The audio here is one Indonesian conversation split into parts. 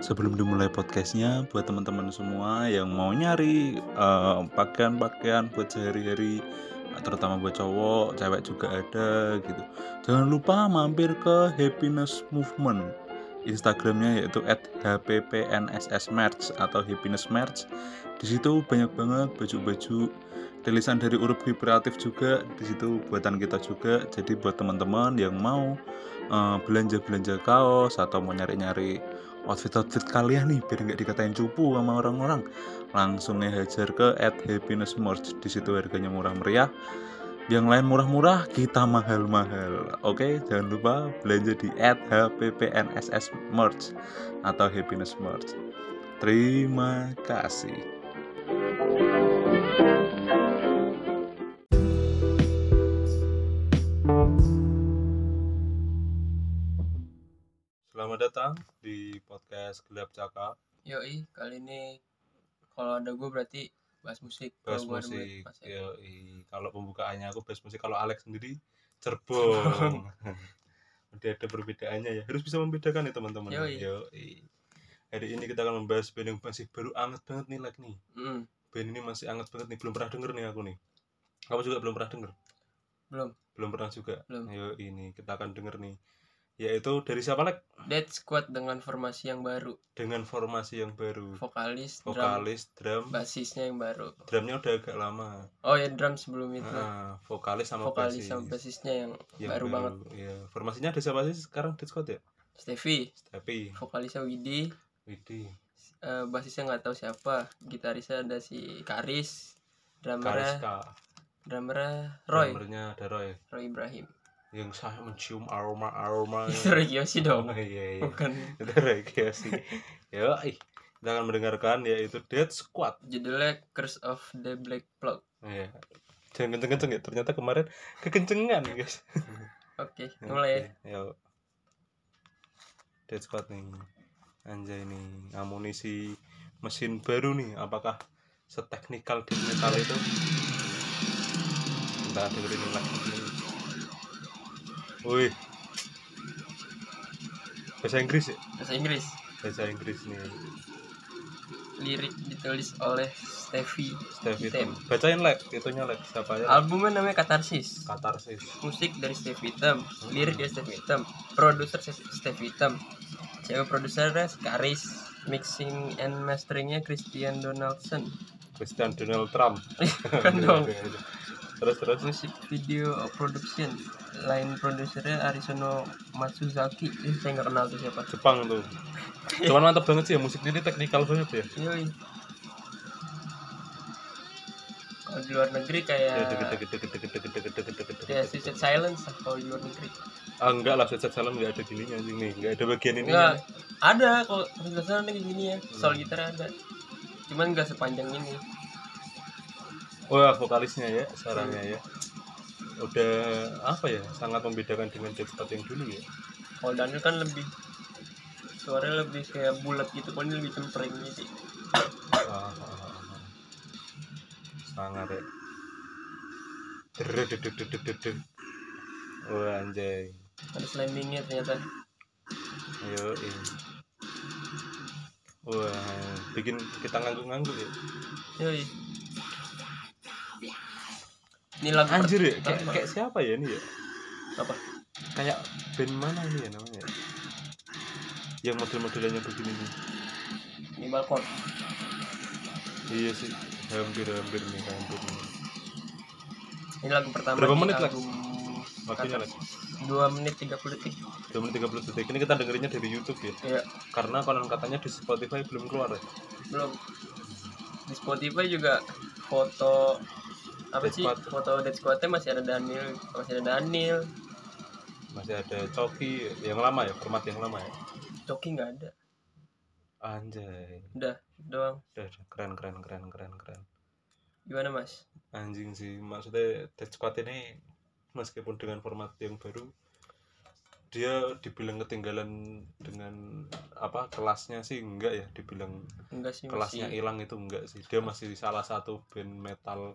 sebelum dimulai podcastnya buat teman-teman semua yang mau nyari eh, pakaian-pakaian buat sehari-hari terutama buat cowok, cewek juga ada gitu. Jangan lupa mampir ke Happiness Movement Instagramnya yaitu @hppnssmerch atau happiness merch. Di situ banyak banget baju-baju tulisan dari urup kreatif juga di situ buatan kita juga. Jadi buat teman-teman yang mau eh, belanja-belanja kaos atau mau nyari-nyari outfit-outfit kalian nih biar nggak dikatain cupu sama orang-orang langsung nih hajar ke at happiness merch di situ harganya murah meriah yang lain murah-murah kita mahal-mahal oke jangan lupa belanja di at hppnss merch atau happiness merch terima kasih Selamat datang di podcast Gelap Cakap Yoi, kali ini kalau ada gue berarti bahas musik. bass Kalau gua ada gue, musik iya. bahas- yoi. kalau pembukaannya aku bass musik kalau Alex sendiri cerbong udah ada perbedaannya ya harus bisa membedakan ya teman-teman Yoi. Yoi. hari ini kita akan membahas band yang masih baru anget banget nih like nih Mm, band ini masih anget banget nih belum pernah denger nih aku nih kamu juga belum pernah denger Belum. belum pernah juga Belum. yo ini kita akan denger nih yaitu dari siapa Lek? Dead Squad dengan formasi yang baru, dengan formasi yang baru vokalis, drum, vokalis drum basisnya yang baru. drumnya udah agak lama Oh ya drum sebelum itu, Ah, vokalis sama vokalis bassis. sama basisnya yang Yang baru banget. Iya. Formasinya ada siapa sih sekarang di squad ya? Stevie, Stepi, vokalisnya Widi, Widi, eh, basisnya nggak tahu siapa, gitarisnya ada si Karis, drummernya, Kariska, drummernya Roy, drummernya ada Roy. Roy Ibrahim. Yang saya mencium aroma aroma. Roy Kiyoshi dong, Oh, Iya iya. bukan Itu Roy Kiyoshi. Yo, ih. kita akan mendengarkan yaitu Dead Squad. judulnya Curse of the Black Plague. Iya. Jangan kenceng-kenceng ya. Ternyata kemarin kekencengan guys. Oke, mulai ya. Oke, Yo. Dead Squad nih. Anjay nih, amunisi mesin baru nih. Apakah seteknikal di metal itu? Kita dengerin lagi. Wih. Bahasa Inggris ya? bahasa Inggris. Bahasa Inggris nih. Lirik ditulis oleh Stevie. Stevie Item. Tem. Bacain like, itunya like siapa ya? Albumnya namanya Katarsis. Katarsis. Musik dari Stevie Item, lirik dari Stevie Item, produser Se- Stevie Item, cewek produsernya Karis, mixing and masteringnya Christian Donaldson. Christian Donald Trump. kan dong. terus terus. Musik video production, line produsernya Arisono Matsuzaki. Ih, saya nggak kenal tuh siapa. Jepang tuh. Cuman mantap banget sih ya musiknya ini teknikal banget ya. Yoi. Kalau di luar negeri Ya, kayak deg- deg- deg- deg- deg- deg- deg- deg- deg- Ya, deg- Suicide Silence lah kalau di luar negeri. Ah enggak lah, set salam enggak ada gininya anjing nih, enggak ada bagian ini. Enggak, ada kalau Suicide Silence nih gini ya, soal Hmm. gitar ada. Cuman enggak sepanjang ini. Wah, vokalisnya ya, suaranya ya. Udah apa ya? Sangat membedakan dengan Jetspot yang dulu ya. Kalau Daniel kan lebih suaranya lebih kayak bulat gitu, kalau ini lebih cempreng gitu. Ah, ah, ah, ah. Sangat ya. Dere, dede, dede, dede. Wah, anjay. Ada slammingnya ternyata. Ayo, Wah, bikin kita ngangguk-ngangguk ya. Yoi. Ini lagu per- Anjir ya, kayak, kayak siapa ya ini ya? apa? kayak band mana ini ya namanya ya? yang model-modelnya begini nih Ini balkon. iya sih hampir hampir nih hampir nih Ini lagu pertama Berapa di menit, Lex? album waktunya Katar. lagi Dua menit 30 detik. dua menit tiga puluh detik ini kita dengerinnya dari YouTube ya Ya, karena konon katanya di Spotify belum keluar ya belum di Spotify juga foto apa Dead sih Squad. foto Dead Squad-nya masih ada Daniel masih ada Daniel masih ada Coki yang lama ya format yang lama ya Coki nggak ada anjay udah doang udah, udah. keren keren keren keren keren gimana mas anjing sih maksudnya Dead Squad ini meskipun dengan format yang baru dia dibilang ketinggalan dengan apa kelasnya sih enggak ya dibilang enggak sih kelasnya ya. masih hilang itu enggak sih dia masih salah satu band metal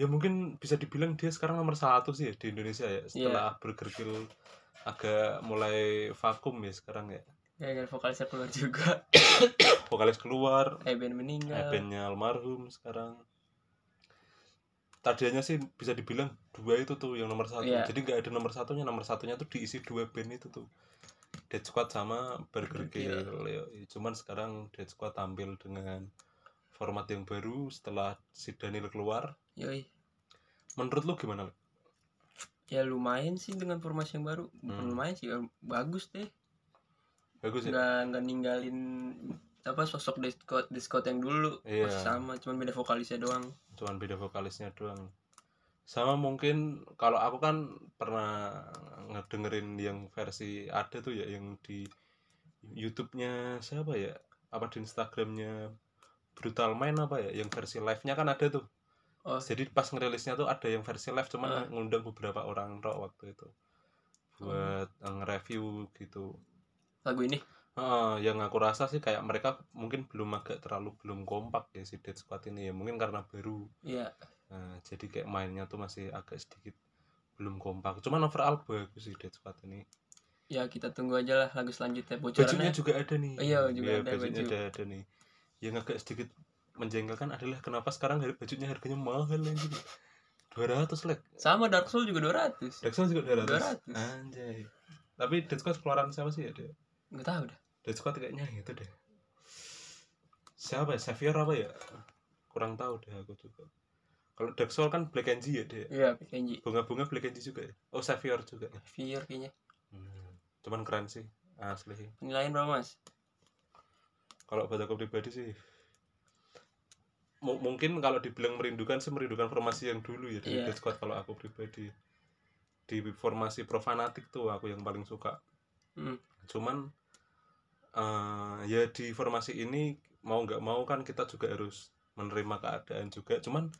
ya mungkin bisa dibilang dia sekarang nomor satu sih ya di Indonesia ya setelah bergergil agak mulai vakum ya sekarang ya gara-gara vokalisnya keluar juga vokalis keluar Eben meninggal bandnya almarhum sekarang tadinya sih bisa dibilang dua itu tuh yang nomor satu Iya. jadi nggak ada nomor satunya nomor satunya tuh diisi dua band itu tuh Dead Squad sama Burger Burger Kill. Kill ya. cuman sekarang Dead Squad tampil dengan format yang baru setelah si Daniel keluar Yoi. menurut lu gimana Lek? ya lumayan sih dengan formasi yang baru Bukan Hmm. lumayan sih ya, bagus deh bagus ya nggak nggak ninggalin apa sosok diskot diskot yang dulu Iya. masih sama cuman beda vokalisnya doang cuman beda vokalisnya doang sama mungkin kalau aku kan pernah ngedengerin yang versi ada tuh ya yang di YouTube-nya siapa ya apa di Instagramnya Brutal Mind apa ya yang versi live-nya kan ada tuh Oh. jadi pas ngerilisnya tuh ada yang versi live cuman Ah. ngundang beberapa orang tok waktu itu buat eh, nge-review gitu lagu ini Ah, yang aku rasa sih kayak mereka mungkin belum agak terlalu belum kompak ya si Dead Squad ini ya mungkin karena baru ya Nah, jadi kayak mainnya tuh masih agak sedikit belum kompak. Cuman overall bagus sih Dead Squad ini. ya kita tunggu aja lah lagu selanjutnya Bajunya bocorannya juga ada nih. Oh, iya, juga ada bajunya baju. ada, ada nih. Yang agak sedikit menjengkelkan adalah kenapa sekarang har- bajunya harganya mahal anjing. 200 lek. sama Dark Soul juga 200 Dark Souls juga 200. 200. Anjay. Tapi Dead Squad keluaran siapa sih ya, Dek? nggak tahu dah Dead Squad kayaknya itu deh. Siapa ya? Xavier apa ya? Kurang tahu deh aku juga. Kalau Dark Souls kan Black Angie ya, Dek. iya Kenji Bunga-bunga Black Angie juga ya. Oh, Xavier juga. Fear kayaknya Hmm. Cuman keren sih, asli sih. penilaian berapa mas Kalau buat aku pribadi sih, mu- mungkin kalau dibilang merindukan sih merindukan formasi yang dulu ya dari Iya. Dead Squad kalau aku pribadi. Di formasi profanatik tuh aku yang paling suka. Hmm. Cuman eh, ya di formasi ini mau nggak mau kan kita juga harus menerima keadaan juga. Cuman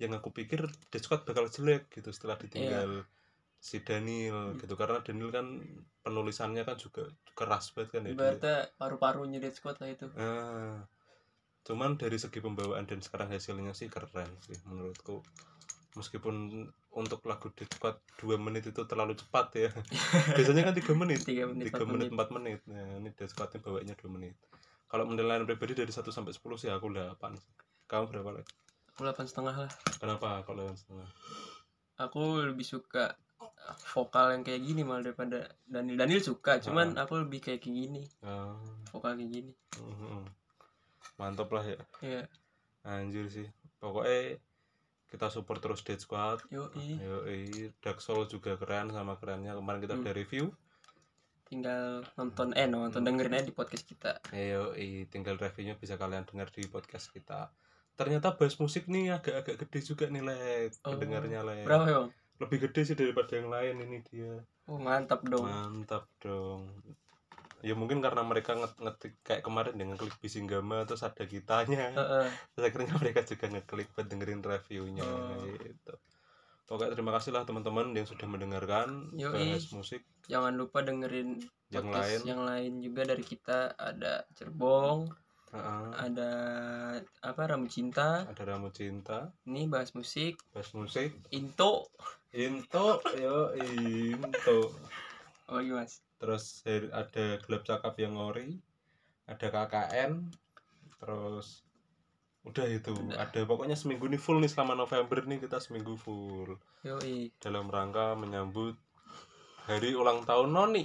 yang aku pikir Dead Squad bakal jelek gitu setelah Iya. ditinggal si Hmm. Daniel gitu karena Daniel kan penulisannya kan juga keras banget kan ya. dia. berarti paru-parunya Dead Squad lah itu Ah, cuman dari segi pembawaan dan sekarang hasilnya sih keren sih menurutku. Meskipun untuk lagu Dead Squad 2 menit itu terlalu cepat ya. Biasanya kan 3 menit, 3 tiga menit menit, empat menit 4 menit. Nah, ini Dead Squad-nya bawaannya 2 menit. Kalau penilaian pribadi dari 1 sampai 10 sih aku 8. sih. Kamu berapa, Lek? aku delapan setengah lah Kenapa kalau yang setengah? aku lebih suka vokal yang kayak gini malah daripada Daniel Daniel suka cuman aku lebih kayak kayak gini Ah, vokal kayak gini mm, mm. Mantap lah ya. ya Anjir sih. Pokoknya kita support terus Dead Squad. yo Iya. Yoi, Dark Soul juga keren sama kerennya kemarin kita Hmm. udah review. tinggal nonton eh nonton dengerin aja di podcast kita Yoi, tinggal reviewnya bisa kalian dengar di podcast kita. Ternyata bass musik nih agak-agak gede juga nih Lek, Oh, pendengarnya Lek. berapa ya bang Lebih gede sih daripada yang lain ini dia. oh mantap dong Mantap dong. Ya mungkin karena mereka nge- ngetik kayak kemarin dengan klik Bisingama terus ada kitanya. Heeh. Terus akhirnya mereka juga ngeklik buat dengerin reviewnya Oh. gitu. Pokoknya terima kasih lah teman-teman yang sudah mendengarkan Yoi. bahas musik jangan lupa dengerin yang podcast lain. yang lain juga dari kita ada Cerbong Heeh. ada apa Ramu Cinta ada Ramu Cinta, ini bahas musik Bass Musik, Into Into, yo Into. apa lagi mas Terus her- ada Gelap Cakap yang Ngori, ada KKN, terus udah itu. Udah. Ada pokoknya seminggu ini full nih selama November nih kita seminggu full Yoi dalam rangka menyambut hari ulang tahun Noni.